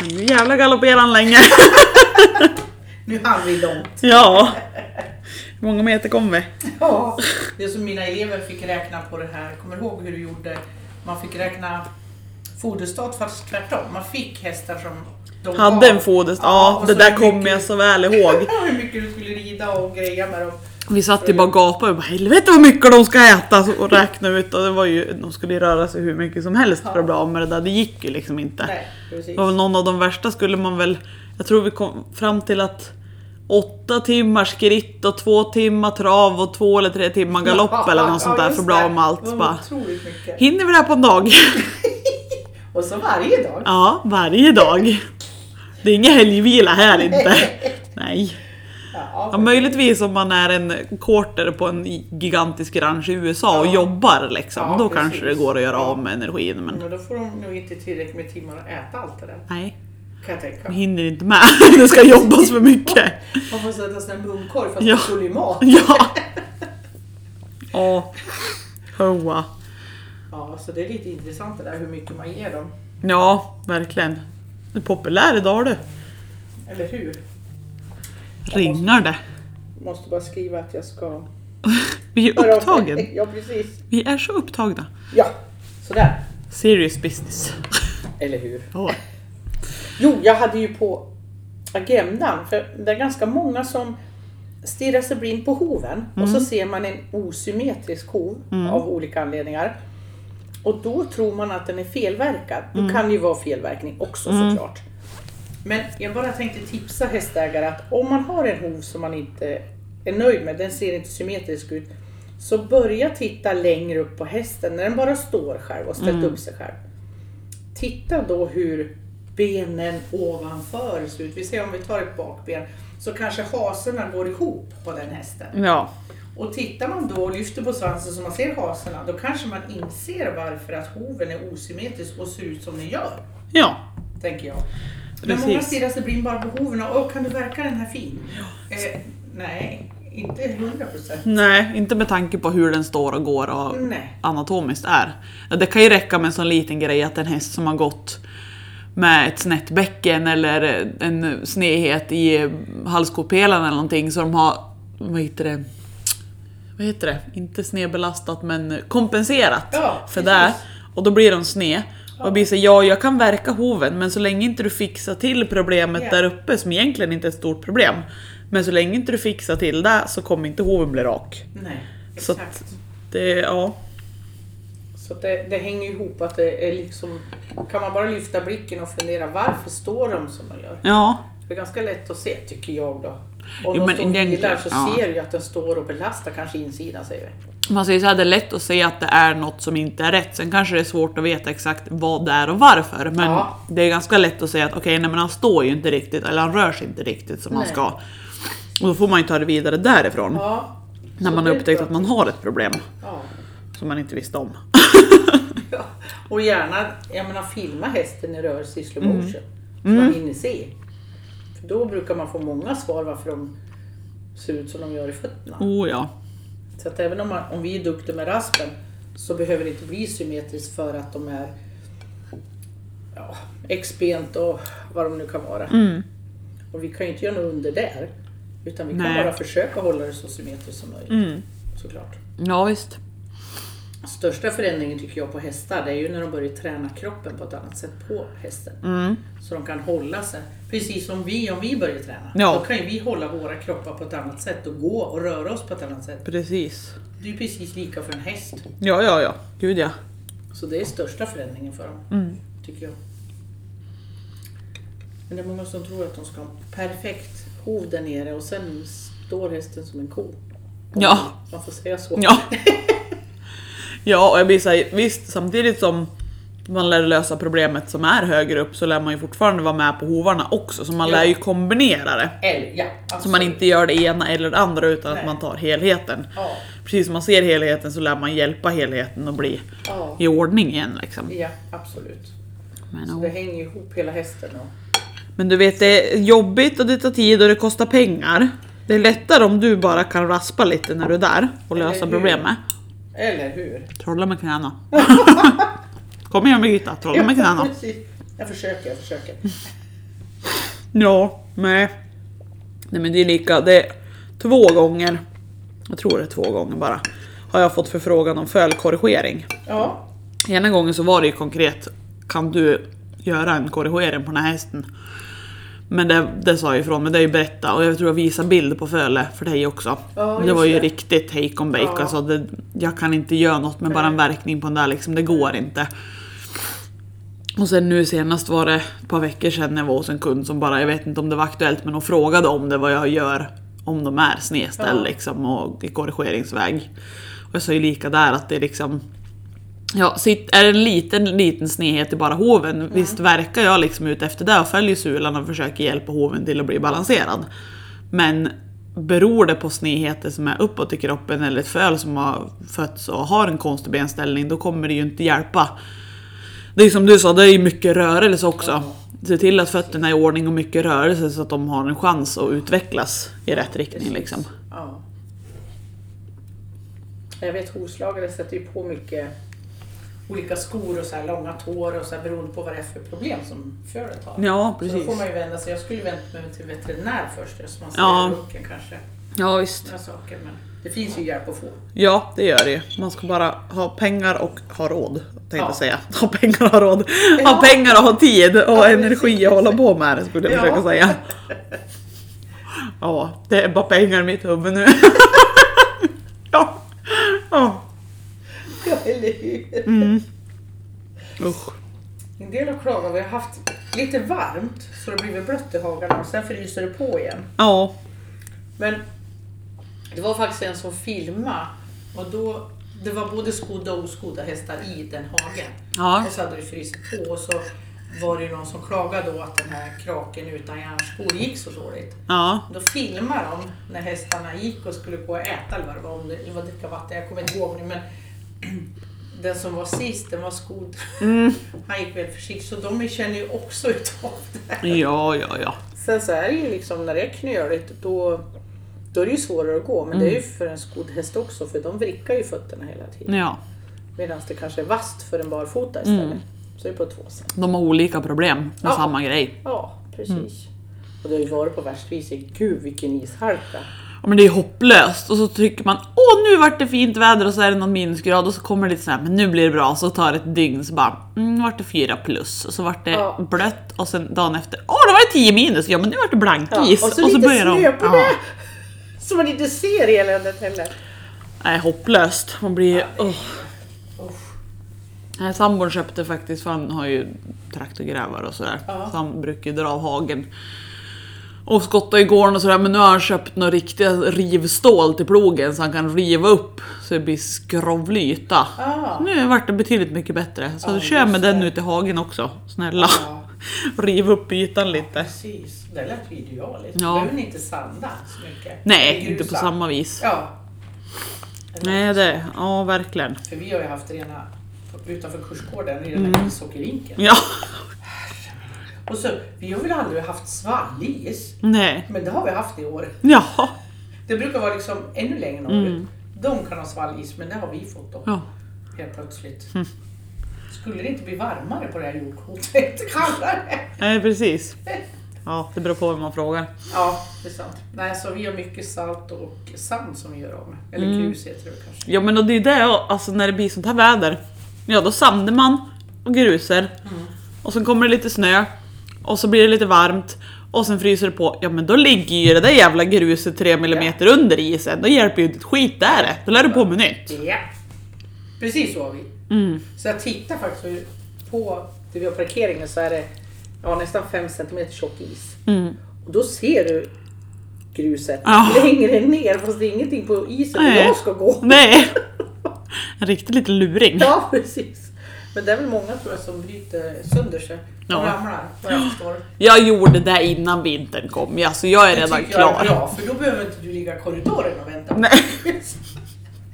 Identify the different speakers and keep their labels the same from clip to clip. Speaker 1: Men nu jävlar galopperar han länge.
Speaker 2: Nu hann vi långt.
Speaker 1: ja. Hur många meter kom vi?
Speaker 2: Ja. Det som mina elever fick räkna på det här, kommer du ihåg hur du gjorde? Man fick räkna foderstat fast tvärtom. Man fick hästar som de
Speaker 1: Hade en foderst. Ja,
Speaker 2: och
Speaker 1: det
Speaker 2: så
Speaker 1: där
Speaker 2: hur
Speaker 1: kommer
Speaker 2: mycket-
Speaker 1: jag så väl ihåg.
Speaker 2: Ja, hur mycket du skulle rida och greja med dem.
Speaker 1: Vi satt ju bara och gapade och bara helvete vad mycket de ska äta så- och räkna ut och det var ju, de skulle ju röra sig hur mycket som helst för att bli av med det där, det gick ju liksom inte.
Speaker 2: Nej, precis.
Speaker 1: Det var väl någon av de värsta skulle man väl, jag tror vi kom fram till att åtta timmar skritt och två timmar trav och två eller tre timmar galopp eller något sånt där för att bli av med
Speaker 2: Det
Speaker 1: allt.
Speaker 2: var
Speaker 1: Bara,
Speaker 2: Otroligt mycket.
Speaker 1: hinner vi det här på en dag?
Speaker 2: Och så varje dag.
Speaker 1: Ja, varje dag. Det är inga helgvila här inte. Nej.
Speaker 2: Ja,
Speaker 1: Ja, möjligtvis om man är en quarter på en gigantisk ranch i USA och
Speaker 2: Ja.
Speaker 1: jobbar liksom.
Speaker 2: Ja,
Speaker 1: då
Speaker 2: precis.
Speaker 1: kanske det går att göra av med energin. Men
Speaker 2: Men då får de nog inte tillräckligt med timmar att äta allt det där.
Speaker 1: nej,
Speaker 2: Kan jag
Speaker 1: man
Speaker 2: tänka.
Speaker 1: hinner inte med. Det ska jobbas för mycket.
Speaker 2: Man får sätta sig i en munkorg fast
Speaker 1: Ja.
Speaker 2: man skulle ju mat.
Speaker 1: Ja. Ja. Hoa.
Speaker 2: Ja, så det är lite intressant det där hur mycket man ger dem.
Speaker 1: Ja, verkligen. Du är populär idag du.
Speaker 2: Eller hur?
Speaker 1: Ringar det.
Speaker 2: Måste bara skriva att jag ska...
Speaker 1: Vi är
Speaker 2: Höra av
Speaker 1: upptagen.
Speaker 2: mig. Ja, precis.
Speaker 1: Vi är så upptagna.
Speaker 2: Ja, sådär.
Speaker 1: Serious business.
Speaker 2: Eller hur?
Speaker 1: Ja.
Speaker 2: Jo, jag hade ju på agendan, för det är ganska många som stirrar sig blind på hoven och så ser man en osymmetrisk hov av olika anledningar. Och då tror man att den är felverkad. Då kan det ju vara felverkning också såklart. Men jag bara tänkte tipsa hästägare att om man har en hov som man inte är nöjd med, den ser inte symmetrisk ut, så börja titta längre upp på hästen när den bara står själv och ställt upp sig själv. Titta då hur benen ovanför ser ut. Vi ser om vi tar ett bakben så kanske hasorna går ihop på den hästen.
Speaker 1: ja.
Speaker 2: Och tittar man då och lyfter på svansen så man ser hasorna då kanske man inser varför att hoven är osymmetrisk och ser ut som den gör.
Speaker 1: Ja.
Speaker 2: Tänker jag. Men
Speaker 1: Precis.
Speaker 2: många stirrar sig blind bara på hoven och "Åh, kan du verka den här fin? Eh, nej, inte 100 procent.
Speaker 1: Nej, inte med tanke på hur den står och går och
Speaker 2: Nej.
Speaker 1: anatomiskt är. Det kan ju räcka med en sån liten grej att en häst som har gått med ett snett bäcken eller en snedhet i halskotpelaren eller någonting så de har, vad heter det, vad heter det, inte snedbelastat men kompenserat
Speaker 2: Ja,
Speaker 1: för
Speaker 2: precis.
Speaker 1: det. Och då blir de sned. Och blir så, ja jag kan verka hoven men så länge inte du fixar till problemet
Speaker 2: Ja.
Speaker 1: där uppe som egentligen inte är ett stort problem. Men så länge inte du fixar till det så kommer inte hoven bli rak.
Speaker 2: Nej,
Speaker 1: Så att-
Speaker 2: exakt.
Speaker 1: Det, ja.
Speaker 2: Så att det, det hänger ihop att det är liksom, kan man bara lyfta blicken och fundera varför står de som de gör?
Speaker 1: Ja,
Speaker 2: Det är ganska lätt att se tycker jag då. Om
Speaker 1: Jo,
Speaker 2: de
Speaker 1: men
Speaker 2: står och vilar
Speaker 1: egentligen,
Speaker 2: så
Speaker 1: ja.
Speaker 2: ser du ju att den står och belastar kanske insidan säger vi.
Speaker 1: man säger så här, det är lätt att se att det är något som inte är rätt. Sen kanske det är svårt att veta exakt vad det är och varför. Men
Speaker 2: Ja.
Speaker 1: det är ganska lätt att säga att okej, nej men han står ju inte riktigt eller han rör sig inte riktigt som han
Speaker 2: Nej.
Speaker 1: ska. Och då får man ju ta det vidare därifrån.
Speaker 2: Ja.
Speaker 1: När
Speaker 2: Så
Speaker 1: man
Speaker 2: det
Speaker 1: har
Speaker 2: är
Speaker 1: upptäckt
Speaker 2: bra.
Speaker 1: att man har ett problem
Speaker 2: Ja.
Speaker 1: som man inte visste om.
Speaker 2: Ja. Och gärna, jag menar filma hästen i rörelse i slow
Speaker 1: Mm.
Speaker 2: motion. Så man hinner se. För då brukar man få många svar varför de ser ut som de gör i fötterna.
Speaker 1: Oh ja.
Speaker 2: Så att även om, man, om vi är duktiga med raspen så behöver det inte bli symmetriskt för att de är ja, expent och vad de nu kan vara.
Speaker 1: Mm.
Speaker 2: Och vi kan ju inte göra något under där. Utan vi
Speaker 1: Nej. Mm.
Speaker 2: kan bara försöka hålla det så symmetriskt som möjligt. Såklart.
Speaker 1: Ja visst.
Speaker 2: Största förändringen tycker jag på hästar det är ju när de börjar träna kroppen på ett annat sätt på hästen.
Speaker 1: Mm.
Speaker 2: Så de kan hålla sig. Precis som vi, om vi börjar träna.
Speaker 1: Ja.
Speaker 2: Då kan ju vi hålla våra kroppar på ett annat sätt och gå och röra oss på ett annat sätt.
Speaker 1: Precis.
Speaker 2: Det är ju precis lika för en häst.
Speaker 1: Ja, ja, ja. Gud ja.
Speaker 2: Så det är största förändringen för dem,
Speaker 1: Mm.
Speaker 2: tycker jag. Men det är många som tror att de ska ha en perfekt hov där nere och sen står hästen som en ko.
Speaker 1: Ja.
Speaker 2: Man får säga så.
Speaker 1: Ja. Ja, och jag blir så här, visst samtidigt som man lär lösa problemet som är högre upp så lär man ju fortfarande vara med på hovarna också, så man
Speaker 2: Ja.
Speaker 1: lär ju kombinera det.
Speaker 2: Eller, ja,
Speaker 1: Så man
Speaker 2: absolut.
Speaker 1: inte gör det ena eller det andra utan att
Speaker 2: Nej.
Speaker 1: man tar helheten.
Speaker 2: Ja.
Speaker 1: Precis som man ser helheten så lär man hjälpa helheten att bli
Speaker 2: Ja.
Speaker 1: i ordning igen. Liksom.
Speaker 2: ja, absolut.
Speaker 1: Men,
Speaker 2: Så
Speaker 1: ja.
Speaker 2: det hänger ihop hela hästen. Och...
Speaker 1: Men du vet, det är jobbigt och det tar tid och det kostar pengar. Det är lättare om du bara kan raspa lite när du är där och
Speaker 2: Eller
Speaker 1: lösa
Speaker 2: hur?
Speaker 1: problemet.
Speaker 2: Eller hur?
Speaker 1: Trolla med knäna. Kom igen Birgitta, trolla med knäna.
Speaker 2: precis. Jag försöker, jag försöker.
Speaker 1: Ja, nej. Nej men det är lika, det är två gånger, jag tror det är två gånger bara, har jag fått förfrågan om fölkorrigering.
Speaker 2: Ja.
Speaker 1: Ena gången så var det ju konkret, kan du göra en korrigering på den här hästen? Men det, det sa jag ifrån, men det är ju berätta och jag tror jag visade bild på föle för dig också.
Speaker 2: Ja,
Speaker 1: det
Speaker 2: just
Speaker 1: var ju
Speaker 2: det.
Speaker 1: riktigt hake on bake,
Speaker 2: Ja.
Speaker 1: alltså det, jag kan inte göra något med bara en verkning på den där liksom, det går inte. Och sen nu senast var det ett par veckor sedan när jag var hos en kund som bara, jag vet inte om det var aktuellt, men hon frågade om det vad jag gör om de är snedställ
Speaker 2: Ja.
Speaker 1: liksom och i korrigeringsväg. Och jag sa ju lika där att det är liksom Ja, sitt, är det en liten, liten snedhet i bara hoven, visst verkar jag liksom ut efter det och följer sulan och försöker hjälpa hoven till att bli balanserad. Men beror det på snedheter som är uppåt i kroppen eller ett föl som har fötts och har en konstig benställning, då kommer det ju inte hjälpa. Det är som du sa, det är ju mycket rörelse också. Se till att fötterna är i ordning och mycket rörelse så att de har en chans att utvecklas i rätt riktning. Liksom.
Speaker 2: ja. Jag vet hovslagare sätter ju på mycket olika skor och så här långa tår och så här, beroende på vad det är för problem som fölet har.
Speaker 1: Ja,
Speaker 2: Så då får
Speaker 1: precis.
Speaker 2: man ju vända sig. Jag skulle vänt mig till veterinär först eftersom man ser
Speaker 1: Ja.
Speaker 2: rucken kanske.
Speaker 1: Ja, visst.
Speaker 2: Några saker, men det finns ju hjälp att få.
Speaker 1: Ja, det gör det ju. Man ska bara ha pengar och ha råd. Tänkte
Speaker 2: Ja.
Speaker 1: jag säga. Ha pengar och ha råd.
Speaker 2: Ja.
Speaker 1: Ha pengar och ha tid och
Speaker 2: Ja,
Speaker 1: energi
Speaker 2: precis.
Speaker 1: att hålla på med det skulle jag
Speaker 2: Ja.
Speaker 1: försöka säga. Ja, det är bara pengar i mitt huvud nu. ja. ja.
Speaker 2: Ja, eller hur?
Speaker 1: Usch.
Speaker 2: En del har klagat. Vi har haft lite varmt så det har blivit blött i hagarna och sen fryser det på igen.
Speaker 1: Ja.
Speaker 2: Men det var faktiskt en som filmade och då, det var både skodda och oskodda hästar i den hagen.
Speaker 1: Ja.
Speaker 2: Och så hade det frysit på och så var det ju någon som klagade då att den här kraken utan järnskor gick så dåligt.
Speaker 1: Ja.
Speaker 2: Då filmade de när hästarna gick och skulle gå och äta eller vad det var, om det, eller vad det var vatten, jag kommer inte ihåg nu men den som var sist, den var skodd. Han gick väl försiktigt, så de känner ju också utav det.
Speaker 1: Ja, ja, ja.
Speaker 2: Sen så är det ju liksom när det är knöligt då, då är det ju svårare att gå. Men det är ju för en skodd häst också för de vrickar ju fötterna hela tiden.
Speaker 1: Ja.
Speaker 2: Medan det kanske är vasst för en barfota istället. Så det är på två sätt.
Speaker 1: De har olika problem med
Speaker 2: Ja.
Speaker 1: samma grej.
Speaker 2: Ja, precis. Mm. Och det har ju varit på värst vis. Gud vilken ishalka.
Speaker 1: Ja, men det är hopplöst och så tycker man åh nu vart det fint väder och så är det någon minusgrad och så kommer det lite såhär men nu blir det bra och så tar det ett dygn så bara mm, vart det fyra plus och så vart det
Speaker 2: Ja.
Speaker 1: blött och sen dagen efter åh då var det 10 minus ja men nu vart det
Speaker 2: Ja,
Speaker 1: blankis
Speaker 2: och så lite
Speaker 1: börjar de-
Speaker 2: snö på
Speaker 1: Ja.
Speaker 2: det. Så man inte ser eländet heller.
Speaker 1: Nej hopplöst, man blir åh.
Speaker 2: Usch.
Speaker 1: Nej, sambon köpte faktiskt, för han har ju traktorgrävare och sådär.
Speaker 2: Ja.
Speaker 1: Så han brukar ju dra av hagen. Och skotta i gården och sådär, men nu har han köpt några riktiga rivstål till plogen så han kan riva upp så det blir skrovlig yta.
Speaker 2: Ah.
Speaker 1: Nu vart det betydligt mycket bättre. Så
Speaker 2: Ja,
Speaker 1: kör med
Speaker 2: just
Speaker 1: den
Speaker 2: det.
Speaker 1: ut i hagen också, snälla.
Speaker 2: Ja.
Speaker 1: Riv upp ytan lite.
Speaker 2: Precis, det lät ju idealiskt.
Speaker 1: Ja.
Speaker 2: Då behöver ni inte sanda så mycket. Det
Speaker 1: Nej,
Speaker 2: är
Speaker 1: inte på
Speaker 2: grusat.
Speaker 1: samma vis.
Speaker 2: Ja.
Speaker 1: Nej, det, ja verkligen.
Speaker 2: För vi har ju haft rena utanför kursgården i den här
Speaker 1: Mm.
Speaker 2: ishockeyrinken.
Speaker 1: Ja,
Speaker 2: Och så, vi har väl aldrig haft svallis,
Speaker 1: nej.
Speaker 2: men det har vi haft i år.
Speaker 1: Ja,
Speaker 2: Det brukar vara liksom ännu längre norrut.
Speaker 1: Mm.
Speaker 2: De kan ha svallis, men det har vi fått då
Speaker 1: ja.
Speaker 2: helt plötsligt. Skulle det inte bli varmare på det här jordklotet? Kallare?
Speaker 1: Nej, precis. Ja, det beror på vem man frågar.
Speaker 2: Ja, det är sant. Nej, så vi har mycket salt och sand som vi gör av med. Eller grus heter det kanske.
Speaker 1: Ja men och det är det, och alltså när det blir sånt här väder. Ja då sandar man och grusar.
Speaker 2: Mm.
Speaker 1: Och sen kommer det lite snö. Och så blir det lite varmt. Och sen fryser det på. Ja men då ligger ju det där jävla gruset 3 mm under isen. Då hjälper ju inte ett skit där. Då lär du på med nytt.
Speaker 2: Ja, precis så har vi.
Speaker 1: Mm.
Speaker 2: Så jag tittar faktiskt på, där vi har parkeringen så är det ja, nästan 5 cm tjock is.
Speaker 1: Mm.
Speaker 2: Och då ser du gruset
Speaker 1: Ja.
Speaker 2: längre ner fast det är ingenting på isen där
Speaker 1: Nej.
Speaker 2: jag ska gå.
Speaker 1: Nej. En riktig liten luring.
Speaker 2: Ja precis. Men det är väl många tror jag som bryter sönder sig. De
Speaker 1: Ja.
Speaker 2: ramlar vad jag förstår.
Speaker 1: Jag gjorde det innan vintern kom. Alltså jag är
Speaker 2: Det
Speaker 1: redan
Speaker 2: tycker jag är
Speaker 1: klar.
Speaker 2: bra för då behöver inte du ligga i korridoren och vänta.
Speaker 1: Nej.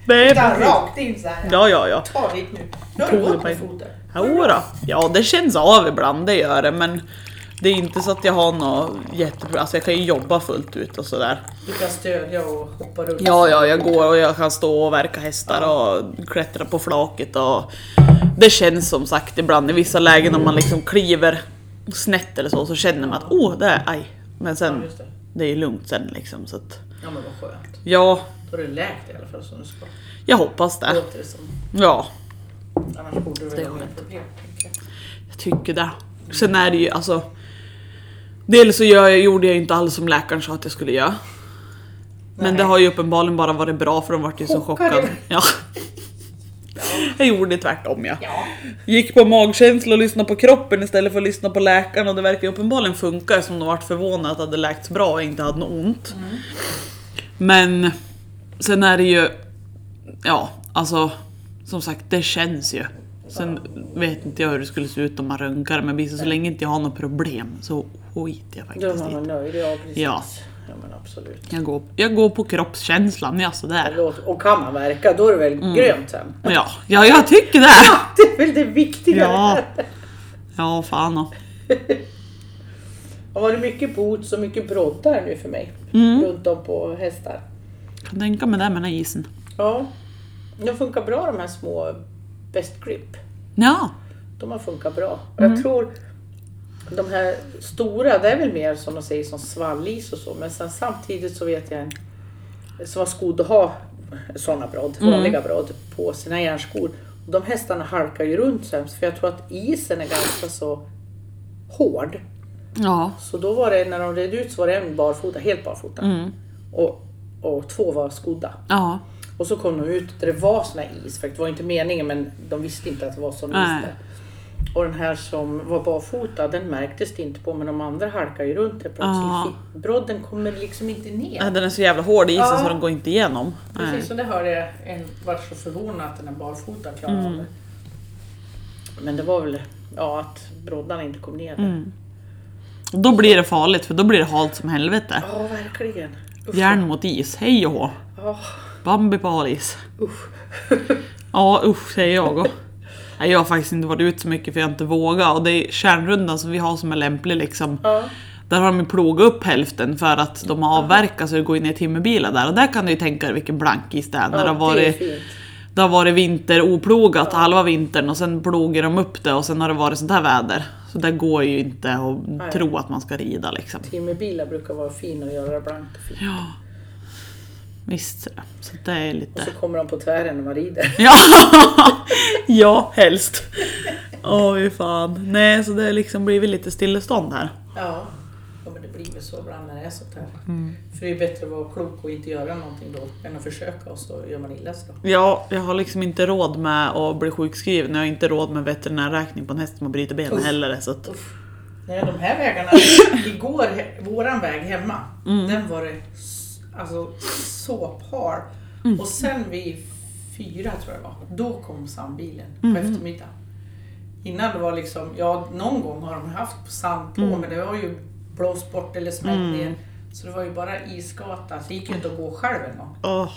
Speaker 1: Det är
Speaker 2: Utan
Speaker 1: precis.
Speaker 2: rakt in såhär.
Speaker 1: Ja ja ja.
Speaker 2: Ta dit nu. Nu har
Speaker 1: Tog
Speaker 2: du
Speaker 1: det
Speaker 2: gått
Speaker 1: på en-
Speaker 2: med foten.
Speaker 1: Jo då. Ja, det känns av ibland, det gör det. Men det är inte så att jag har något jätteproblem. Alltså jag kan ju jobba fullt ut och sådär.
Speaker 2: Du kan stödja och hoppa runt.
Speaker 1: Ja, ja, jag går och jag kan stå och verka hästar och klättra på flaket och det känns som sagt ibland i vissa lägen om man liksom kliver snett eller så, så känner man att åh, det är aj. Men sen,
Speaker 2: Ja, just det.
Speaker 1: det är ju lugnt sen liksom. Så att,
Speaker 2: Ja men vad skönt.
Speaker 1: ja,
Speaker 2: Då har du läkt i alla fall som du ska.
Speaker 1: jag hoppas det.
Speaker 2: Låter det som.
Speaker 1: Ja,
Speaker 2: Annars borde du
Speaker 1: Det är
Speaker 2: väl ha mer
Speaker 1: skönt.
Speaker 2: problem. tänker jag.
Speaker 1: jag tycker det. Sen är det ju alltså... Dels så gör jag, gjorde jag ju inte alls som läkaren sa att jag skulle göra. Men
Speaker 2: Nej.
Speaker 1: det har ju uppenbarligen bara varit bra för de vart ju så
Speaker 3: Chockade.
Speaker 1: chockade. Ja. Jag gjorde tvärtom ja.
Speaker 2: Ja.
Speaker 1: Gick på magkänsla och lyssnade på kroppen istället för att lyssna på läkaren och det verkar ju uppenbarligen funka eftersom de vart förvånade att det hade läkts bra och inte hade något ont. Men sen är det ju, ja alltså som sagt det känns ju. Sen vet inte jag hur det skulle se ut om man röntgar men visst, så länge inte jag har något problem så skiter jag
Speaker 3: Då är
Speaker 1: faktiskt i
Speaker 3: man
Speaker 1: det.
Speaker 3: nöjd, ja precis.
Speaker 1: Ja.
Speaker 3: Ja, men absolut.
Speaker 1: Jag går, jag går på kroppskänslan, ja Mm. sådär.
Speaker 3: Låt- Och kan man verka, då är det väl grönt sen.
Speaker 1: Ja, ja jag tycker det!
Speaker 3: Det är väl det viktiga.
Speaker 1: Ja. Ja, fan och.
Speaker 3: Det har varit mycket boots och mycket broddar nu för mig. Runt om på hästar.
Speaker 1: Kan tänka mig det med den här isen.
Speaker 3: Ja. De funkar bra de här små Best Grip.
Speaker 1: Ja,
Speaker 3: De har funkat bra. Och Jag tror de här stora, det är väl mer som de säger som svallis och så. Men sen samtidigt så vet jag en som var skod att ha sådana brodd, vanliga brodd på sina järnskor. Och de hästarna halkar ju runt sämst för jag tror att isen är ganska så hård.
Speaker 1: ja,
Speaker 3: Så då var det, när de red ut så var det en barfota, helt barfota. Och, och två var skodda.
Speaker 1: ja.
Speaker 3: Och så kom de ut där det var sån här is, för det var inte meningen men de visste inte att det var sån is
Speaker 1: Nej.
Speaker 3: där. Och den här som var barfota, den märktes det inte på men de andra halkar ju runt det
Speaker 1: Ja.
Speaker 3: plötsligt. Fick- Brodden kommer liksom inte ner.
Speaker 1: Äh, Den är så jävla hård i isen
Speaker 2: Ja.
Speaker 1: så den går inte igenom. Nej.
Speaker 2: Precis, och det hörde jag. En vart så förvånad att den här barfota klarade av det.
Speaker 3: Men det var väl ja, att broddarna inte kom ner. där. Ja,
Speaker 1: Och Då blir det farligt för då blir det halt som helvete.
Speaker 3: verkligen. Usch.
Speaker 1: Järn mot is, hej och hå.
Speaker 3: Ja,
Speaker 1: Bambi på hal is.
Speaker 3: usch.
Speaker 1: Ja usch säger jag och. Nej, jag har faktiskt inte varit ut så mycket för jag har inte vågat och det är kärnrundan som vi har som är lämplig liksom.
Speaker 3: Ja.
Speaker 1: Där har de ju plogat upp hälften för att de har avverkat så det går ju ner timmerbilar där och där kan du ju tänka dig vilken blank is det är när det har
Speaker 3: Ja, det är
Speaker 1: varit
Speaker 3: fint.
Speaker 1: Det har varit vinter oplogat halva vintern och sen plogar de upp det och sen har det varit sånt här väder. Så det går ju inte att tro att man ska rida liksom.
Speaker 3: Timmerbilar brukar vara fina och göra blankt och fint.
Speaker 1: Ja. Visst är det. Så det är
Speaker 3: Och
Speaker 1: lite...
Speaker 3: så kommer de på tvären när man rider.
Speaker 1: Ja! ja, helst. Åh fy fan. Nej, så det har liksom blivit lite stillestånd här.
Speaker 2: Ja. ja, men det blir väl så ibland när det är sånt här. För det är bättre att vara klok och inte göra någonting då än att försöka och så gör man illa sig då.
Speaker 1: Ja, jag har liksom inte råd med att bli sjukskriven. Jag har inte råd med veterinärräkning på en häst som har brutit benen
Speaker 2: Uff.
Speaker 1: heller. Så att,
Speaker 2: Uff. Nej, de här vägarna. igår, he- våran väg hemma, den var det s- alltså, såphal. Och sen vid fyra tror jag det var, då kom sandbilen på eftermiddagen. Innan det var liksom, ja någon gång har de haft sand på men det var ju blåst bort eller smält ner. Så det var ju bara isgata, så det gick ju inte att gå själv en gång.
Speaker 1: åh,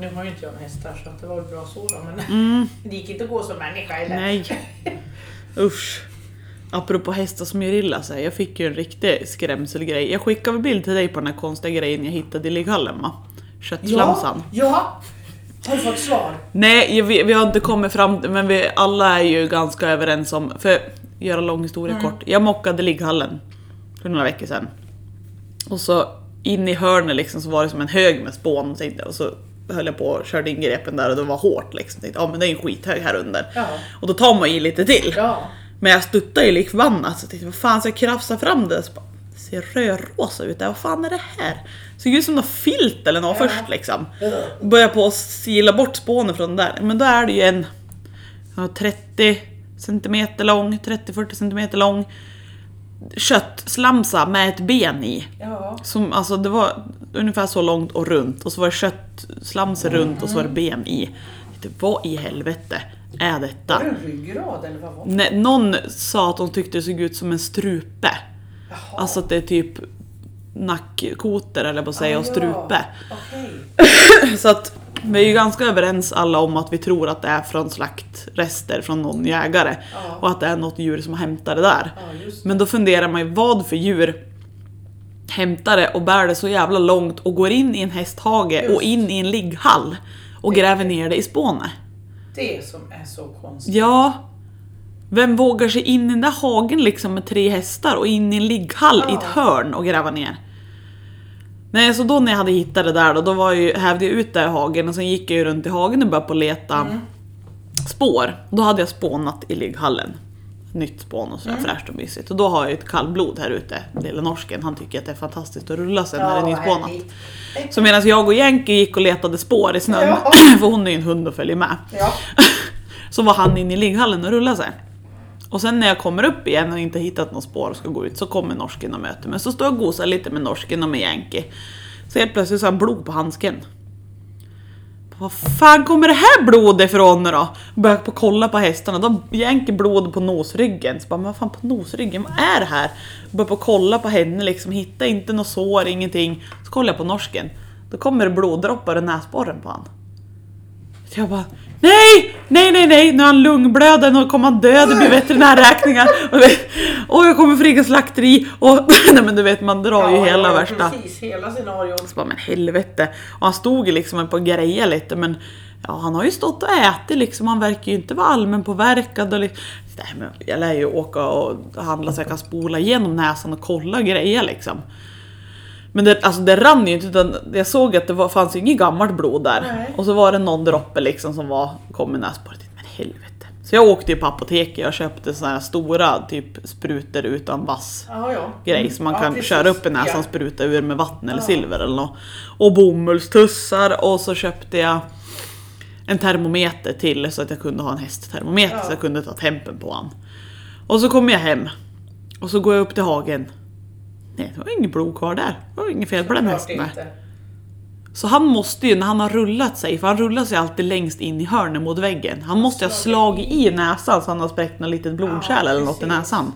Speaker 2: Nu har ju inte jag hästar så att det var väl bra så då, men
Speaker 1: Mm.
Speaker 2: det gick inte att gå som människa heller.
Speaker 1: Nej. Usch. Apropå hästar som gör illa sig, jag fick ju en riktig skrämselgrej. Jag skickade en bild till dig på den här konstiga grejen jag hittade i ligghallen va? Köttslamsan.
Speaker 2: Ja, ja! Har du fått svar?
Speaker 1: Nej, jag- vi, vi har inte kommit fram till- men vi alla är ju ganska överens om, för att göra lång historia
Speaker 2: Mm.
Speaker 1: kort. Jag mockade ligghallen för några veckor sedan. Och så in i hörnet liksom så var det som en hög med spån och, tänkte, jag. och så höll jag på och körde in grepen där och det var hårt liksom. Tänkte, ja men det är ju en skithög här under.
Speaker 2: Ja.
Speaker 1: Och då tar man i lite till.
Speaker 2: Ja.
Speaker 1: Men jag stuttade ju lik förbannat så tänkte vad fan ska jag krafsa fram det? Så bara, det ser rödrosa ut där, vad fan är det här? Såg ut som något filt eller något först liksom. Börjar på att sila bort spånen från där. Men då är det ju en ja, 30 cm lång, 30-40 cm lång köttslamsa med ett ben i.
Speaker 2: Ja.
Speaker 1: Som, alltså, det var ungefär så långt och runt och så var det köttslamser runt och så var det ben i. Jag tänkte, Vad i helvete är detta?
Speaker 2: Var det en ryggrad eller vad var det?
Speaker 1: Nej, någon sa att de tyckte det såg ut som en strupe.
Speaker 2: Jaha. Ah,
Speaker 1: Alltså att det är typ nackkotor eller på att säga och strupe.
Speaker 2: Ja. Okej.
Speaker 1: Så att vi är ju ganska överens alla om att vi tror att det är från slaktrester från någon jägare.
Speaker 2: Ja.
Speaker 1: Och att det är något djur som har hämtat det där.
Speaker 2: Ja, just det.
Speaker 1: Men då funderar man ju vad för djur hämtar det och bär det så jävla långt och går in i en hästhage och in i en ligghall och gräver ner det i spånet.
Speaker 2: Det som är så konstigt.
Speaker 1: Ja, Vem vågar sig in i den där hagen liksom med tre hästar och in i en ligghall i ett hörn och gräva ner? Nej, så då när jag hade hittat det där då, då var jag, ju- hävde jag ut det i hagen och sen gick jag ju runt i hagen och började på att leta spår. Då hade jag spånat i ligghallen. Nytt spån och sådär fräscht och mysigt. Och då har jag ju ett kallblod här ute, lille norsken. Han tycker att det är fantastiskt att rulla sen när det är nyspånat. Så medan jag och Jänke gick och letade spår i snön,
Speaker 3: Ja.
Speaker 1: för hon är ju en hund och följer med.
Speaker 3: Ja.
Speaker 1: Så var han inne i ligghallen och rullade sig. Och sen när jag kommer upp igen och inte hittat något spår och ska gå ut så kommer norsken och möter mig. Så står jag och gosar lite med norsken och med Yankee. Så helt plötsligt så har jag blod på handsken. Vad fan kommer det här blodet ifrån nu då? Börjar på kolla på hästarna, de jänker blod på nosryggen. Så bara, men vad fan på nosryggen, vad är det här? Börjar på kolla på henne liksom, hittar inte något sår, ingenting. Så kollar jag på norsken, då kommer det bloddroppar i näsborren på han. Så jag bara, nej, nej, nej, nej, nu har han lungblöden och kommer han dö, det blir veterinärräkningar. Och, vet- och jag kommer få ringa slakteri och nej men du vet man drar ju
Speaker 2: Ja,
Speaker 1: hela
Speaker 2: ja,
Speaker 1: värsta.
Speaker 2: Precis, hela scenariot.
Speaker 1: Så bara, men helvete. Och han stod ju liksom på grejer lite men ja, han har ju stått och ätit liksom. Han verkar ju inte vara allmänpåverkad. Och liksom. Nej, men jag lär ju åka och handla så jag kan spola igenom näsan och kolla grejer liksom. Men det, alltså det rann ju inte utan jag såg att det var, fanns ju inget gammalt blod där.
Speaker 2: Nej.
Speaker 1: Och så var det någon droppe liksom som var, kom i näsborret. Men helvete. Så jag åkte ju på apoteket och köpte såna här stora typ sprutor utan vass
Speaker 2: Ja, ja.
Speaker 1: grej som man
Speaker 2: Mm. Ja,
Speaker 1: kan
Speaker 2: precis.
Speaker 1: köra upp i näsan
Speaker 2: Ja.
Speaker 1: och spruta ur med vatten eller silver eller något. Och bomullstussar och så köpte jag en termometer till så att jag kunde ha en hästtermometer
Speaker 2: Ja.
Speaker 1: så jag kunde ta tempen på han. Och så kommer jag hem och så går jag upp till hagen. Nej, det var inget blod kvar där. Det var inget fel på den
Speaker 2: Klart
Speaker 1: hästen. nej.
Speaker 2: inte.
Speaker 1: Så han måste ju, när han har rullat sig, för han rullar sig alltid längst in i hörnet mot väggen. Han måste ju ha slagit i näsan så han har spräckt något litet blodkärl
Speaker 2: Ja,
Speaker 1: eller något i
Speaker 2: precis.
Speaker 1: näsan.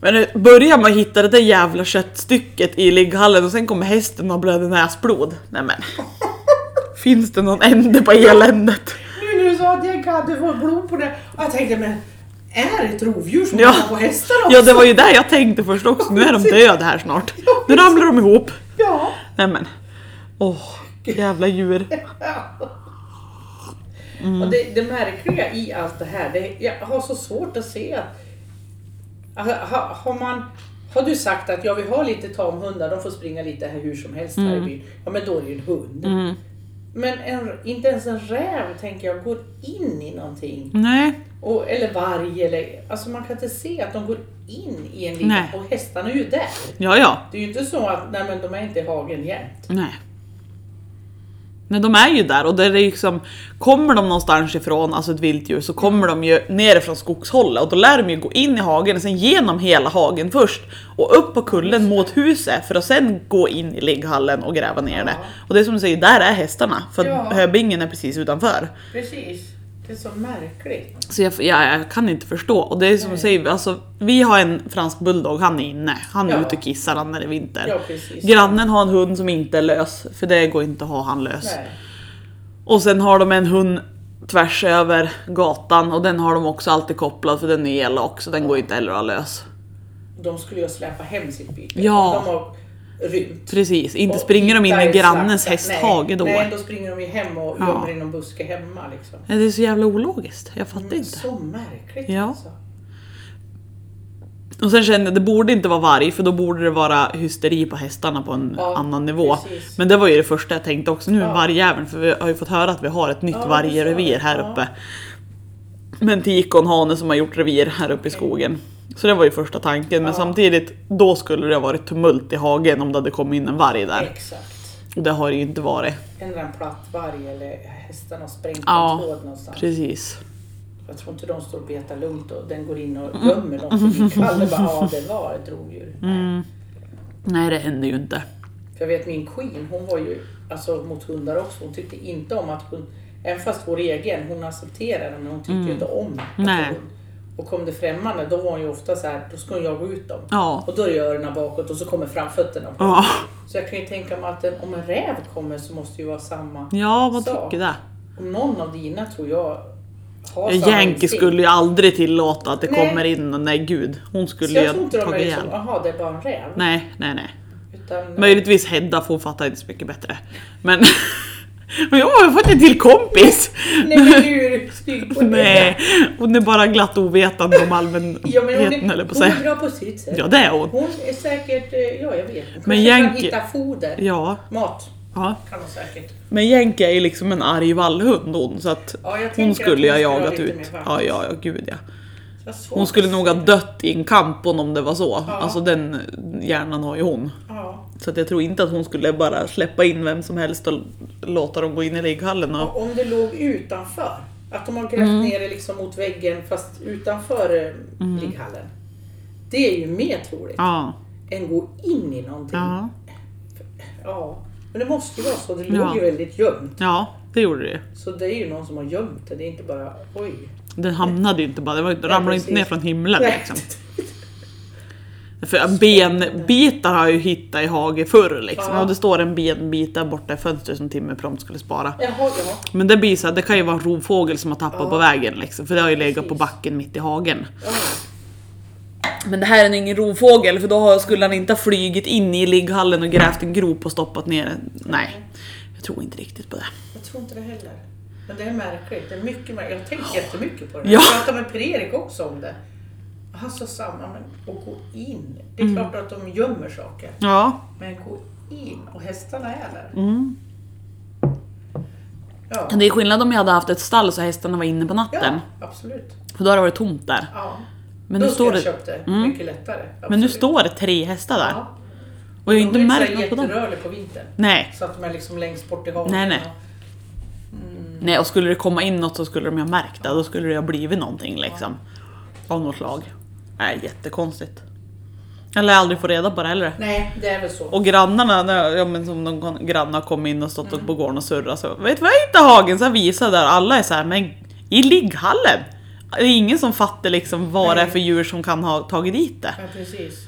Speaker 1: Men det börjar med att hitta det där jävla köttstycket i ligghallen och sen kommer hästen och blöder näsblod. Nämen. Finns det någon ände på eländet?
Speaker 2: Nu när du sa att jag hade fått blod på det, och jag tänkte men är det ett rovdjur som
Speaker 1: Ja.
Speaker 2: ja. på hästar också?
Speaker 1: Ja det var ju där jag tänkte först också, nu är de döda här snart. Nu ramlar de ihop.
Speaker 2: Ja.
Speaker 1: Nämen. Åh, jävla djur.
Speaker 2: Och det, det märkliga i allt det här, det, jag har så svårt att se att... Alltså, ha, har, man, har du sagt att ja, vi har lite tamhundar, de får springa lite här hur som helst här i byn. Ja, men då är det ju en hund. Men en, inte ens en räv tänker jag går in i någonting.
Speaker 1: Nej,
Speaker 2: Och, eller varg eller... Alltså man kan inte se att de går in i en liten...
Speaker 1: Nej.
Speaker 2: Och hästarna är ju där.
Speaker 1: ja ja.
Speaker 2: Det är ju inte så att nej, men de är inte i hagen jämt.
Speaker 1: Nej. Men de är ju där och det är liksom, kommer de någonstans ifrån, alltså ett viltdjur, så kommer de ju nerifrån skogshållet och då lär de ju gå in i hagen och sen genom hela hagen först och upp på kullen mot huset för att sen gå in i ligghallen och gräva ner det. Och det är som du säger, där är hästarna för
Speaker 2: Ja.
Speaker 1: höbingen är precis utanför.
Speaker 2: Precis. Det är så märkligt.
Speaker 1: Så jag, jag, jag kan inte förstå. Och det är som du säger, alltså, vi har en fransk bulldog, han är inne. Han är
Speaker 2: Ja.
Speaker 1: ute och kissar han när det är vinter.
Speaker 2: Ja, precis.
Speaker 1: Grannen har en hund som inte är lös, för det går inte att ha han lös.
Speaker 2: Nej.
Speaker 1: Och sen har de en hund tvärs över gatan och den har de också alltid kopplad för den är elak så den går inte heller att ha lös.
Speaker 2: De skulle ju släpa hem sitt byte.
Speaker 1: Ja.
Speaker 2: De har rymt.
Speaker 1: Precis, inte
Speaker 2: Och
Speaker 1: springer de in
Speaker 2: hittar
Speaker 1: i
Speaker 2: ett
Speaker 1: grannens
Speaker 2: slakt-
Speaker 1: hästhage
Speaker 2: nej,
Speaker 1: då.
Speaker 2: Nej,
Speaker 1: Nej,
Speaker 2: då springer de ju hem och
Speaker 1: Ja.
Speaker 2: gömmer i någon buske hemma. Liksom.
Speaker 1: Det är så jävla ologiskt, jag fattar inte.
Speaker 2: Så märkligt
Speaker 1: Ja.
Speaker 2: alltså.
Speaker 1: Och sen kände jag, det borde inte vara varg för då borde det vara hysteri på hästarna på en
Speaker 2: Ja,
Speaker 1: annan nivå.
Speaker 2: precis.
Speaker 1: Men det var ju det första jag tänkte också, nu är
Speaker 2: Ja.
Speaker 1: vargjäveln för vi har ju fått höra att vi har ett nytt
Speaker 2: Ja,
Speaker 1: vargrevir
Speaker 2: precis.
Speaker 1: här
Speaker 2: Ja.
Speaker 1: uppe. Med en tikonhane som har gjort revir här uppe i skogen. Så det var ju första tanken, men
Speaker 2: Ja.
Speaker 1: samtidigt då skulle det ha varit tumult i hagen om det hade kommit in en varg där.
Speaker 2: Exakt.
Speaker 1: Och det har det ju inte varit.
Speaker 2: Ändra en platt varg eller hästarna har sprängt
Speaker 1: Ja,
Speaker 2: en tråd någonstans.
Speaker 1: Precis.
Speaker 2: Jag tror inte de står och betar lugnt och den går in och gömmer dem. För det kallar bara, ja det var ett rovdjur.
Speaker 1: Mm.
Speaker 2: Nej.
Speaker 1: Nej det händer ju inte.
Speaker 2: För jag vet min queen, hon var ju alltså, mot hundar också. Hon tyckte inte om att hon, även fast vår egen, hon accepterade den men hon tyckte ju inte om att få
Speaker 1: Mm. Nej.
Speaker 2: hund. Och kom det främmande, då var hon ju ofta så här, då ska hon jaga ut dem.
Speaker 1: Ja.
Speaker 2: Och då rör öronen bakåt och så kommer framfötterna. upp.
Speaker 1: Ja,
Speaker 2: Så jag kan ju tänka mig att en, om en räv kommer så måste det ju vara samma.
Speaker 1: ja vad
Speaker 2: Så.
Speaker 1: tycker det?
Speaker 2: Och någon av dina tror jag har samma
Speaker 1: Yankee
Speaker 2: instinkt.
Speaker 1: skulle ju aldrig tillåta att det
Speaker 2: Nej.
Speaker 1: kommer in, nej gud. Hon
Speaker 2: Så
Speaker 1: skulle
Speaker 2: jag
Speaker 1: ju
Speaker 2: tror
Speaker 1: ha
Speaker 2: inte de är
Speaker 1: tagit
Speaker 2: liksom,
Speaker 1: ihjäl.
Speaker 2: jaha det är bara en räv.
Speaker 1: Nej, nej, nej.
Speaker 2: Utan,
Speaker 1: Möjligtvis Hedda för hon fattar inte så mycket bättre. Men... Men jag har fått en till kompis!
Speaker 2: nej men hur?
Speaker 3: stygg på det.
Speaker 1: Nej, hon är bara glatt ovetande om allmänheten
Speaker 3: Ja, men hon,
Speaker 1: eller
Speaker 3: är,
Speaker 1: på
Speaker 3: hon
Speaker 1: sig.
Speaker 3: är bra på sitt sätt.
Speaker 1: Ja, det är hon.
Speaker 3: Hon är säkert, eh, ja jag vet Hon
Speaker 1: Men
Speaker 3: kanske kan
Speaker 1: Yankee-
Speaker 3: hitta foder.
Speaker 1: Ja,
Speaker 3: Mat
Speaker 1: ja.
Speaker 2: Kan hon säkert.
Speaker 1: Men Jänke är ju liksom en arg vallhund hon, så att
Speaker 2: Ja, jag tänker
Speaker 1: hon
Speaker 2: att
Speaker 1: skulle jag
Speaker 2: ha
Speaker 1: jagat
Speaker 2: lite mer
Speaker 1: ut.
Speaker 2: varmt.
Speaker 1: Ja, ja, ja, gud ja.
Speaker 2: Jag såg-
Speaker 1: Hon skulle nog ha dött i en kamp om det var så.
Speaker 2: Ja.
Speaker 1: Alltså den hjärnan har ju hon.
Speaker 2: Ja.
Speaker 1: Så att jag tror inte att hon skulle bara släppa in vem som helst och låta dem gå in i ligghallen. Och...
Speaker 3: Och Om det låg utanför.
Speaker 2: Att de har grävt
Speaker 1: Mm.
Speaker 2: ner det liksom mot väggen fast utanför eh, ligghallen.
Speaker 3: Det är ju mer troligt
Speaker 1: Ja,
Speaker 3: än gå in i någonting.
Speaker 1: ja,
Speaker 3: Ja. Men det måste ju vara så. Det låg
Speaker 1: Ja.
Speaker 3: ju väldigt gömt.
Speaker 1: ja, det gjorde det ju.
Speaker 3: Så det är ju någon som har gömt det. Det är inte bara oj.
Speaker 1: Den hamnade ju inte bara, det var, ju- ramlade inte
Speaker 3: precis.
Speaker 1: ner från himlen
Speaker 3: Nej.
Speaker 1: liksom. För benbitar har jag ju hittat i hage förr liksom.
Speaker 3: Ja.
Speaker 1: Och det står en benbit där borta i fönstret som Timmy prompt skulle spara.
Speaker 3: Jaha, jaha.
Speaker 1: Men det blir så här, det kan ju vara en rovfågel som har tappat på vägen liksom. För det har ju legat på
Speaker 3: Precis.
Speaker 1: backen mitt i hagen.
Speaker 3: Ja.
Speaker 1: Men det här är ingen rovfågel för då har- skulle han inte ha flugit in i ligghallen och grävt en grop och stoppat ner den. Nej, jag tror inte riktigt på det.
Speaker 2: Jag tror inte det heller. Men det är märkligt. Det är mycket märkligt. Jag har tänkt jättemycket på det.
Speaker 1: Ja.
Speaker 2: Jag pratade med Per-Erik också om det. Han sa samma, men att gå in. Det är
Speaker 1: Mm.
Speaker 2: klart att de gömmer saker.
Speaker 1: Ja,
Speaker 2: Men gå in. Och hästarna är där.
Speaker 1: Mm.
Speaker 2: Ja.
Speaker 1: det är skillnad om jag hade haft ett stall så hästarna var inne på natten.
Speaker 2: ja, absolut.
Speaker 1: För då hade det varit tomt där.
Speaker 2: Ja.
Speaker 1: Men
Speaker 2: Då
Speaker 1: nu står
Speaker 2: skulle jag
Speaker 1: det,
Speaker 2: köpt det.
Speaker 1: Mm.
Speaker 2: Mycket lättare. Absolut.
Speaker 1: men nu står det tre hästar där.
Speaker 2: Ja.
Speaker 1: Och jag har
Speaker 2: De
Speaker 1: inte
Speaker 2: är ju
Speaker 1: märkt
Speaker 2: så
Speaker 1: något på dem.
Speaker 2: jätterörliga på vintern.
Speaker 1: Nej,
Speaker 2: Så att de är liksom längst bort i havet.
Speaker 1: Nej, nej. nej och skulle det komma in något så skulle de ju ha märkt det. Då skulle det ha blivit någonting liksom. Av något slag. Nej, jättekonstigt. Jag lär aldrig få reda på det heller.
Speaker 2: Nej, det är väl så.
Speaker 1: Och grannarna, när- ja, men som någon granne har kommit in och stått upp på gården och surrat så Vet du vad jag hittade i hagen? Så jag visar där, alla är så här, men i ligghallen! Det är ingen som fattar liksom vad det är för djur som kan ha tagit dit det.
Speaker 2: Ja, precis.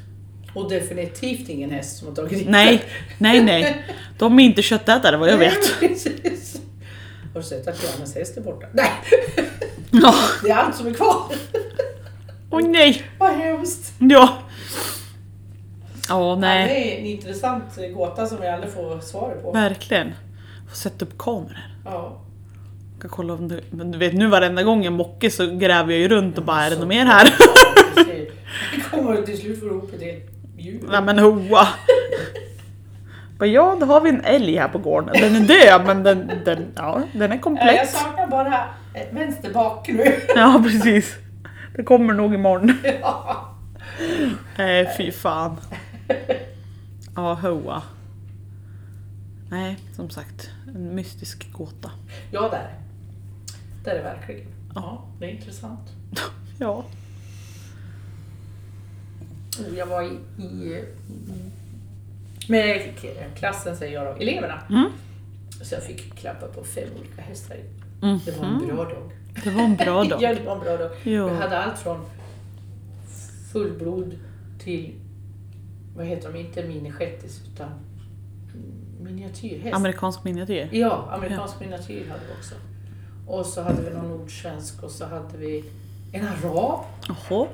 Speaker 2: Och definitivt ingen häst som har tagit in
Speaker 1: Nej, nej, nej. De är inte köttätare vad jag vet.
Speaker 2: Nej, precis. Har du sett att grannens häst är borta? Nej,
Speaker 1: Ja.
Speaker 2: det är allt som är kvar.
Speaker 1: Åh nej!
Speaker 2: Vad hemskt.
Speaker 1: Ja. Åh
Speaker 2: Ja,
Speaker 1: nej,
Speaker 2: Det är en intressant eh, gåta som vi aldrig får svar på.
Speaker 1: verkligen. Får sätta upp kameror.
Speaker 2: Ja.
Speaker 1: Jag Ska kolla om det, men du vet nu varenda gång jag mockar så gräver jag ju runt och bara är det något mer här?
Speaker 2: precis. Det kommer till slut få ihop ett helt djur. Eh,
Speaker 1: Nej men hoa! Bara, ja, då har vi en älg här på gården. Den är död men den, den, ja, den är
Speaker 2: Äh, Jag
Speaker 1: komplex.
Speaker 2: saknar bara eh, vänster bak nu.
Speaker 1: Ja precis. Det kommer nog imorgon.
Speaker 2: Ja.
Speaker 1: Nej fy fan. Ja hoa. Nej som sagt, en mystisk gåta.
Speaker 2: ja, där. Där är verkligen. Ja, det är intressant.
Speaker 1: Ja.
Speaker 2: Och Jag var i, i med k- klassen, säger jag då, eleverna.
Speaker 1: Mm.
Speaker 2: Så jag fick klappa på fem olika hästar.
Speaker 1: Mhm.
Speaker 2: Det var en bra dag.
Speaker 1: Det var en bra
Speaker 2: Mm. Ja,
Speaker 1: dag.
Speaker 2: det var en bra dag.
Speaker 1: Ja.
Speaker 2: Vi hade allt från fullblod till, vad heter de, inte minishettis utan miniatyrhäst.
Speaker 1: Amerikansk miniatyr.
Speaker 2: ja, amerikansk miniatyr hade vi också. Och så hade vi någon nordsvensk och så hade vi en arab
Speaker 1: Jaha.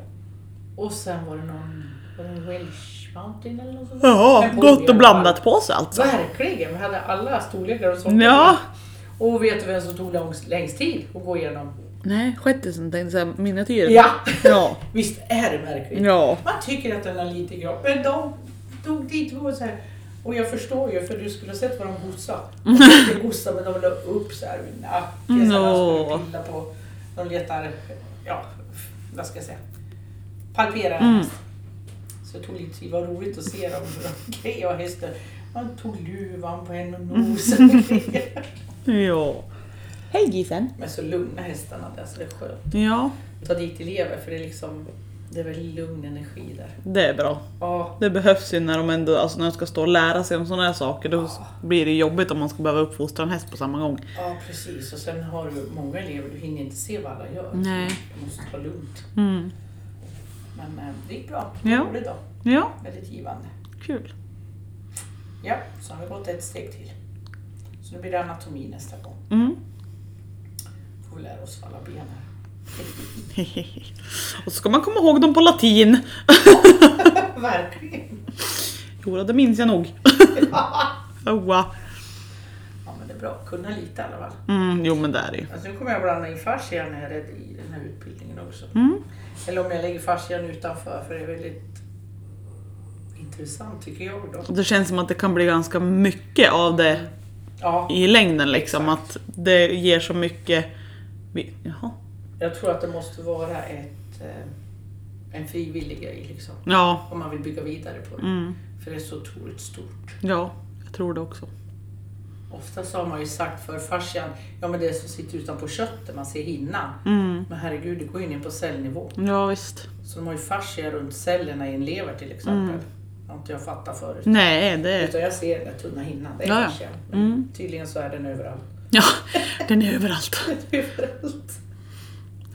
Speaker 2: och sen var det någon, var det en Welsh mountain eller något sånt?
Speaker 1: Jaha,
Speaker 2: En
Speaker 1: gott och
Speaker 2: pony i alla fall.
Speaker 1: blandat på sig alltså.
Speaker 2: Verkligen, vi hade alla storlekar och sånt.
Speaker 1: Ja.
Speaker 2: Och vet du vem som tog långst, längst tid att gå igenom?
Speaker 1: Nej, skettisen tänkte jag säga, miniatyren.
Speaker 2: Ja!
Speaker 1: Ja.
Speaker 2: Visst är det märkligt?
Speaker 1: Ja.
Speaker 2: Man tycker att den är lite grav, men de tog dit och så här. Och jag förstår ju, för du skulle ha sett vad de gossade.
Speaker 1: Mm.
Speaker 2: De skulle gossa, men de la upp så här vid nacken, så här, de
Speaker 1: Nå.
Speaker 2: skulle pilla på. De letar, ja, vad ska jag säga, palperar
Speaker 1: Mm.
Speaker 2: häst. Så det tog lite tid, det var roligt att se dem hur de grejade hästen. Man tog luvan på en och
Speaker 1: Mm.
Speaker 2: nosen.
Speaker 1: Ja. Hej Gisen.
Speaker 2: men så lugna hästarna där, så det är skönt.
Speaker 1: Ja,
Speaker 2: Ta dit elever, för det är liksom, det är väldigt lugn energi där.
Speaker 1: det är bra.
Speaker 2: Ja,
Speaker 1: Det behövs ju när de ändå, alltså när de ska stå och lära sig om sådana här saker. Då blir det jobbigt om man ska behöva uppfostra en häst på samma gång.
Speaker 2: Ja, precis. Och sen har du många elever, du hinner inte se vad alla gör.
Speaker 1: Nej.
Speaker 2: Du måste ta lugnt.
Speaker 1: Mm.
Speaker 2: Men eh, det gick bra.
Speaker 1: Ja.
Speaker 2: Roligt då.
Speaker 1: Ja,
Speaker 2: Väldigt givande.
Speaker 1: kul.
Speaker 2: Ja, så har vi gått ett steg till. Så nu blir det anatomi nästa gång.
Speaker 1: Mm.
Speaker 2: Får vi lära oss alla ben här.
Speaker 1: Och så ska man komma ihåg dem på latin.
Speaker 2: Verkligen!
Speaker 1: Jo, det minns jag nog. Oa.
Speaker 2: Ja, men det bra att kunna lite i alla fall.
Speaker 1: Mm, jo men det är det ju.
Speaker 2: Alltså, nu kommer jag blanda in fascia när jag är i den här utbildningen också.
Speaker 1: Mm.
Speaker 2: Eller om jag lägger fascian utanför för det är väldigt intressant tycker jag då.
Speaker 1: Det känns som att det kan bli ganska mycket av det
Speaker 2: Ja,
Speaker 1: i längden liksom. Att det ger så mycket... vi- Jaha.
Speaker 2: jag tror att det måste vara ett, eh, en frivillig grej liksom.
Speaker 1: Ja,
Speaker 2: Om man vill bygga vidare på det.
Speaker 1: Mm.
Speaker 2: För det är så otroligt stort.
Speaker 1: ja, jag tror det också.
Speaker 2: Oftast har man ju sagt för fascian, ja men det som sitter utanpå köttet, man ser hinnan.
Speaker 1: Mm.
Speaker 2: Men herregud, det går ju ner på cellnivå.
Speaker 1: Ja visst.
Speaker 2: Så de har ju fascia runt cellerna i en lever till exempel.
Speaker 1: Mm.
Speaker 2: Det har inte jag fattat förut.
Speaker 1: Nej, det...
Speaker 2: Utan jag ser den där tunna hinnan, det är
Speaker 1: Mm. Ja, Mm. ja.
Speaker 2: fascia. Men Tydligen så är den överallt.
Speaker 1: Ja, den är överallt.
Speaker 2: överallt.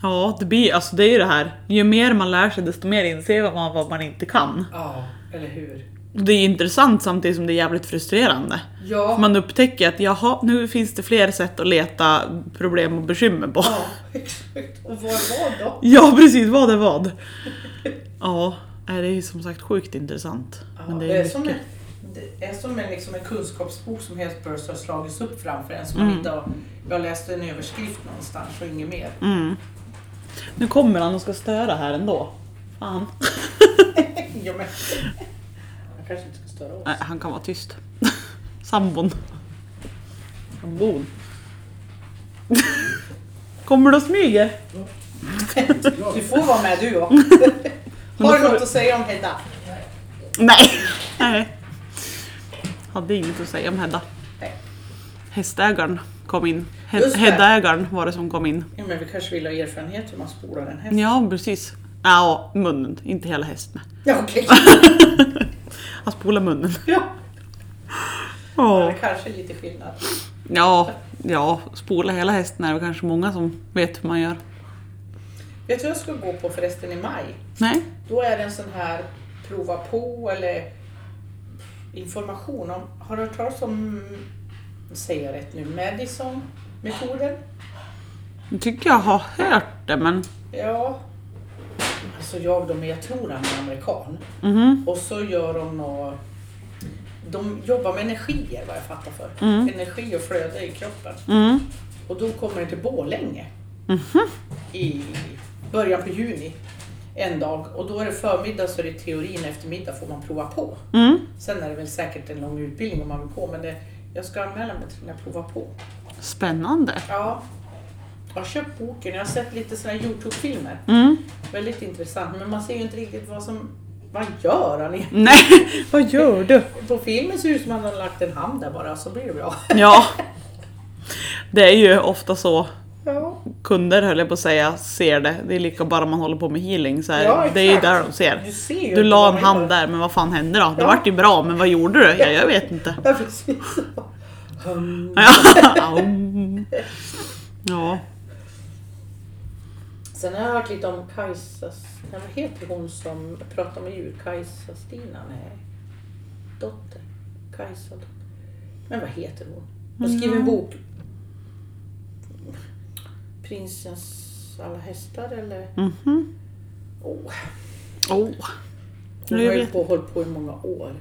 Speaker 1: Ja, det blir alltså det är ju det här. Ju mer man lär sig desto mer inser man vad man inte kan.
Speaker 2: Ja, eller hur?
Speaker 1: Det är ju intressant samtidigt som det är jävligt frustrerande.
Speaker 2: Ja,
Speaker 1: Man upptäcker att jaha, nu finns det fler sätt att leta problem och bekymmer på.
Speaker 2: ja exakt. Och vad var då?
Speaker 1: Ja precis, vad är vad? Ja, nej, det är ju som sagt sjukt intressant. Men
Speaker 2: Ja,
Speaker 1: det
Speaker 2: det,
Speaker 1: är
Speaker 2: är som en,
Speaker 1: mycket.
Speaker 2: det är som en, liksom en kunskapsbok som helt plötsligt har slagits upp framför en. Som
Speaker 1: Mm.
Speaker 2: man inte har, jag läste en överskrift någonstans och inget mer.
Speaker 1: Mm. Nu kommer han och ska störa här ändå. Fan.
Speaker 2: Ja, men, jag kanske inte ska störa oss.
Speaker 1: Nej, han kan vara tyst. Sambon. Sambon. Kommer du och smyger?
Speaker 2: Du får vara med du också.
Speaker 1: Men då
Speaker 2: Har du
Speaker 1: får
Speaker 2: något
Speaker 1: du-
Speaker 2: att säga om Hedda?
Speaker 1: Nej. Nej. Hade inget att säga om Hedda.
Speaker 2: Nej.
Speaker 1: Hästägaren kom in. He-
Speaker 2: Just det.
Speaker 1: Heddaägaren var det som kom in.
Speaker 2: Ja, men vi kanske vill ha erfarenhet hur man spolar en häst.
Speaker 1: Ja, precis. Ja, munnen. Inte hela hästen.
Speaker 2: Ja, okej.
Speaker 1: Han spolar munnen.
Speaker 2: Ja, det
Speaker 1: Ja,
Speaker 2: är kanske lite skillnad.
Speaker 1: ja, ja spola hela hästen är det kanske många som vet hur man gör.
Speaker 2: Vet du vad jag ska gå på förresten i maj?
Speaker 1: Nej?
Speaker 2: Då är det en sån här prova på eller information om, har du hört talas om, säger jag rätt nu, Madison-metoden?
Speaker 1: Jag tycker jag har hört det, men...
Speaker 2: Ja. Alltså jag då, men jag tror han är amerikan.
Speaker 1: Mhm.
Speaker 2: Och så gör de nå... De jobbar med energier vad jag fattar för.
Speaker 1: Mm.
Speaker 2: Energi och flöde i kroppen.
Speaker 1: Mm.
Speaker 2: Och då kommer det till Borlänge
Speaker 1: Mhm.
Speaker 2: i början på juni. En dag. Och då är det förmiddag så är det teorin, eftermiddag får man prova på.
Speaker 1: Mm.
Speaker 2: Sen är det väl säkert en lång utbildning om man vill på men det, jag ska anmäla mig till när jag provar på.
Speaker 1: Spännande.
Speaker 2: Ja. Jag har köpt boken, jag har sett lite såna här Youtube-filmer.
Speaker 1: Mm.
Speaker 2: Väldigt intressant men man ser ju inte riktigt vad som... Vad gör han egentligen?
Speaker 1: Nej, vad gör du?
Speaker 2: På filmen ser det ut som att han har lagt en hand där bara så blir det bra.
Speaker 1: Ja. Det är ju ofta så
Speaker 2: Ja.
Speaker 1: kunder höll jag på att säga ser det. Det är lika bara man håller på med healing. Så här,
Speaker 2: Ja,
Speaker 1: det är ju
Speaker 2: exakt.
Speaker 1: där de ser.
Speaker 2: Du ser ju
Speaker 1: Du la
Speaker 2: inte
Speaker 1: en
Speaker 2: vad man
Speaker 1: hand där men vad fan hände då? Det
Speaker 2: Ja.
Speaker 1: vart ju bra men vad gjorde du? Ja, jag vet inte.
Speaker 2: Ja precis. Hum.
Speaker 1: Ja. ja.
Speaker 2: Sen har jag hört lite om Kajsa, nej, vad heter hon som pratar med djur? Kajsa-Stina? Nej. Dotter? Kajsa dotter. Men vad heter hon?
Speaker 1: Mm.
Speaker 2: Hon skriver en bok. Prinsens alla hästar eller?
Speaker 1: Mhm.
Speaker 2: Oh.
Speaker 1: Oh.
Speaker 2: Hon
Speaker 1: Ja, jag
Speaker 2: har ju
Speaker 1: vet
Speaker 2: på, hållit på i många år.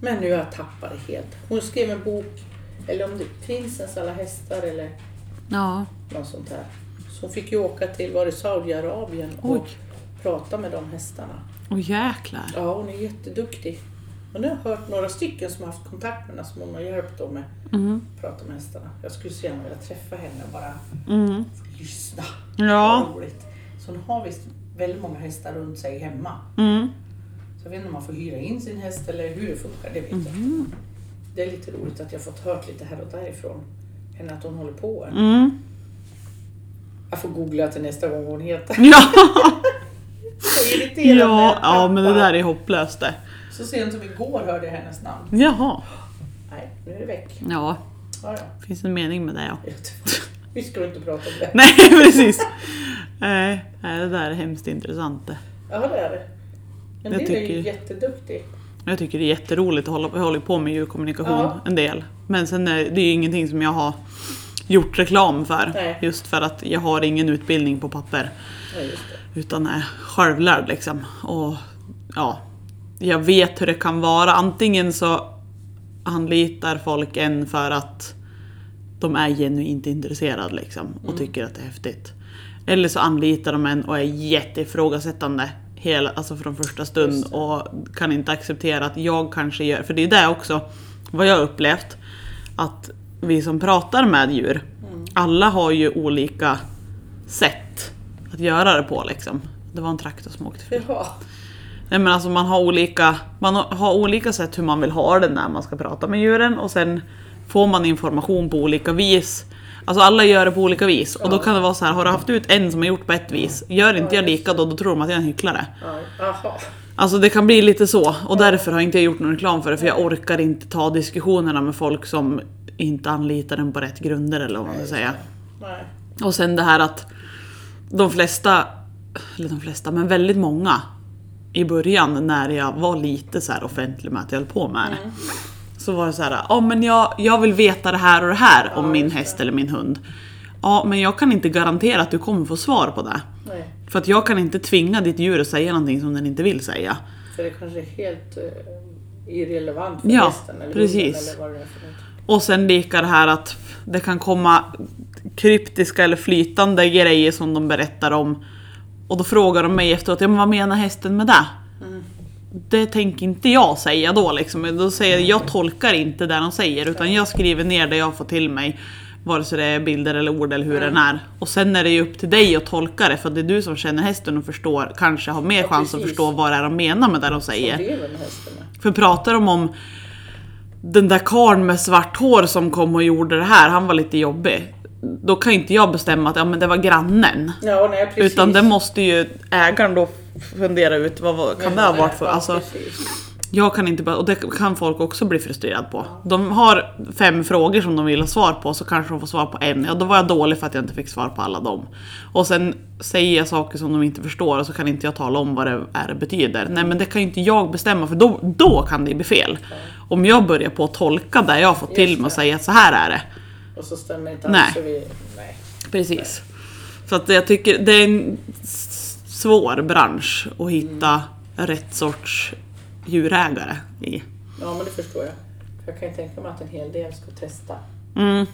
Speaker 2: Men nu har jag tappat det helt. Hon skrev en bok, eller om det är Prinsens alla hästar eller
Speaker 1: Ja.
Speaker 2: något sånt där. Så hon fick ju åka till, var det Saudiarabien och
Speaker 1: Oj.
Speaker 2: prata med de hästarna.
Speaker 1: Åh jäklar.
Speaker 2: Ja, hon är jätteduktig. Och nu har jag hört några stycken som har haft kontakt med henne som hon har hjälpt dem med
Speaker 1: Mm.
Speaker 2: att prata med hästarna. Jag skulle så gärna vilja träffa henne och bara
Speaker 1: Mm.
Speaker 2: lyssna.
Speaker 1: Ja.
Speaker 2: Vad roligt. Så hon har visst väldigt många hästar runt sig hemma.
Speaker 1: Mm.
Speaker 2: Så jag vet inte om man får hyra in sin häst eller hur det funkar, det vet jag inte.
Speaker 1: Mm.
Speaker 2: Det är lite roligt att jag fått hört lite här och därifrån henne att hon håller på.
Speaker 1: Mm.
Speaker 2: Jag får googla till nästa gång vad hon heter.
Speaker 1: Ja.
Speaker 2: Så irriterande.
Speaker 1: Ja. ja, men det där är hopplöst det.
Speaker 2: Så sent som igår hörde jag hennes namn.
Speaker 1: Jaha.
Speaker 2: Nej, nu är det väck.
Speaker 1: Ja,
Speaker 2: Ja,
Speaker 1: det finns en mening med det ja.
Speaker 2: ja. Vi skulle inte prata om det.
Speaker 1: Nej precis. Nej, nej, det där är hemskt intressant det.
Speaker 2: Ja, det är det. Men
Speaker 1: Jag
Speaker 2: det är ju
Speaker 1: tycker-
Speaker 2: jätteduktig.
Speaker 1: Jag tycker det är jätteroligt att hålla jag håller på med djurkommunikation
Speaker 2: Ja.
Speaker 1: en del. Men sen är det är ju ingenting som jag har gjort reklam för.
Speaker 2: Nej.
Speaker 1: Just för att jag har ingen utbildning på papper.
Speaker 2: Ja, just det.
Speaker 1: Utan är självlärd liksom. Och ja, jag vet hur det kan vara. Antingen så anlitar folk än för att de är genuint intresserade liksom, och tycker att det är häftigt. Eller så anlitar de en och är jätteifrågasättande hela, alltså från första stund och kan inte acceptera att jag kanske gör, för det är det också vad jag har upplevt, att vi som pratar med djur, alla har ju olika sätt att göra det på liksom. Det var en traktor som åkte förbi.
Speaker 3: Jaha.
Speaker 1: Nej men alltså man har olika, man har olika sätt hur man vill ha det när man ska prata med djuren och sen får man information på olika vis. Alltså alla gör det på olika vis och då kan det vara så här, har du haft ut en som har gjort på ett vis, gör inte jag lika då, då tror de att jag är en hycklare.
Speaker 3: Ja, Jaha.
Speaker 1: Alltså det kan bli lite så och därför har inte jag gjort någon reklam för det för jag orkar inte ta diskussionerna med folk som inte anlitar den på rätt grunder eller vad man ska säga.
Speaker 3: Nej.
Speaker 1: Och sen det här att de flesta, eller de flesta, men väldigt många i början när jag var lite så här offentlig med att jag höll på med det. Så var det så här, ja men jag, jag vill veta det här och det här om min häst eller min hund. Ja men jag kan inte garantera att du kommer få svar på det.
Speaker 3: Nej.
Speaker 1: För att jag kan inte tvinga ditt djur att säga någonting som den inte vill säga.
Speaker 3: För det kanske är helt eh, irrelevant för
Speaker 1: Ja,
Speaker 3: hästen eller
Speaker 1: precis.
Speaker 3: hunden eller vad det är för något.
Speaker 1: Och sen lika det här att det kan komma kryptiska eller flytande grejer som de berättar om. Och då frågar de mig efteråt, ja, men vad menar hästen med det?
Speaker 3: Mm.
Speaker 1: Det tänker inte jag säga då liksom. Då säger jag, jag tolkar inte det de säger utan jag skriver ner det jag får till mig. Vare sig det är bilder eller ord eller hur
Speaker 3: Mm.
Speaker 1: den är. Och sen är det ju upp till dig att tolka det för det är du som känner hästen och förstår, kanske har mer
Speaker 3: Ja,
Speaker 1: chans att
Speaker 3: precis.
Speaker 1: förstå vad det är de menar med det de säger.
Speaker 3: Och det är väl med hästarna.
Speaker 1: För pratar de om den där karln med svart hår som kom och gjorde det här, han var lite jobbig. Då kan inte jag bestämma att ja, men det var grannen.
Speaker 3: Ja, nej, precis.
Speaker 1: Utan det måste ju ägaren då fundera ut, vad, vad kan det ha varit för...
Speaker 3: Ja,
Speaker 1: Alltså,
Speaker 3: precis.
Speaker 1: jag kan inte bara, och det kan folk också bli frustrerad på. De har fem frågor som de vill ha svar på, så kanske de får svar på en. Ja, då var jag dålig för att jag inte fick svar på alla dem. Och sen säger jag saker som de inte förstår och så kan inte jag tala om vad det är det betyder. Nej, men det kan ju inte jag bestämma för då, då kan det bli fel. Om jag börjar på att tolka det jag har fått till mig och säga att så här är det.
Speaker 3: Och så stämmer inte
Speaker 1: Nej.
Speaker 3: alls. så vi- Nej.
Speaker 1: Precis. Så att jag tycker det är en s- svår bransch att hitta rätt sorts djurägare i.
Speaker 3: Ja, men det förstår jag. För jag kan ju tänka mig att en hel del ska testa.
Speaker 1: Mm.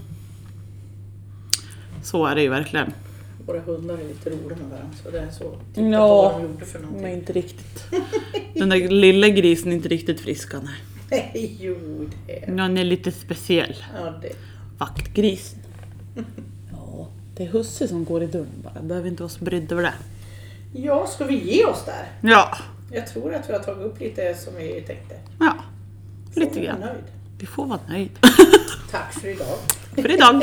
Speaker 1: Så är det ju verkligen.
Speaker 3: Våra hundar är lite roliga med varandra. Så det är så. typ
Speaker 2: Titta på
Speaker 1: Ja.
Speaker 2: vad de gjorde för någonting.
Speaker 1: Nej, inte riktigt. Den där lilla grisen är inte riktigt frisk han är.
Speaker 3: Nej, jo det. är-
Speaker 1: Men Han är lite speciell.
Speaker 3: Ja, det.
Speaker 1: Vaktgrisen. Ja, det är husse som går i dörren bara. Behöver inte vara så brydd över det.
Speaker 3: Ja, ska vi ge oss där?
Speaker 1: Ja,
Speaker 3: Jag tror att vi har tagit upp lite som vi tänkte.
Speaker 1: ja.
Speaker 3: Så
Speaker 1: Lite
Speaker 3: jag är
Speaker 1: grann.
Speaker 3: Nöjd.
Speaker 1: Vi får vara nöjd.
Speaker 3: Tack för idag.
Speaker 1: För idag.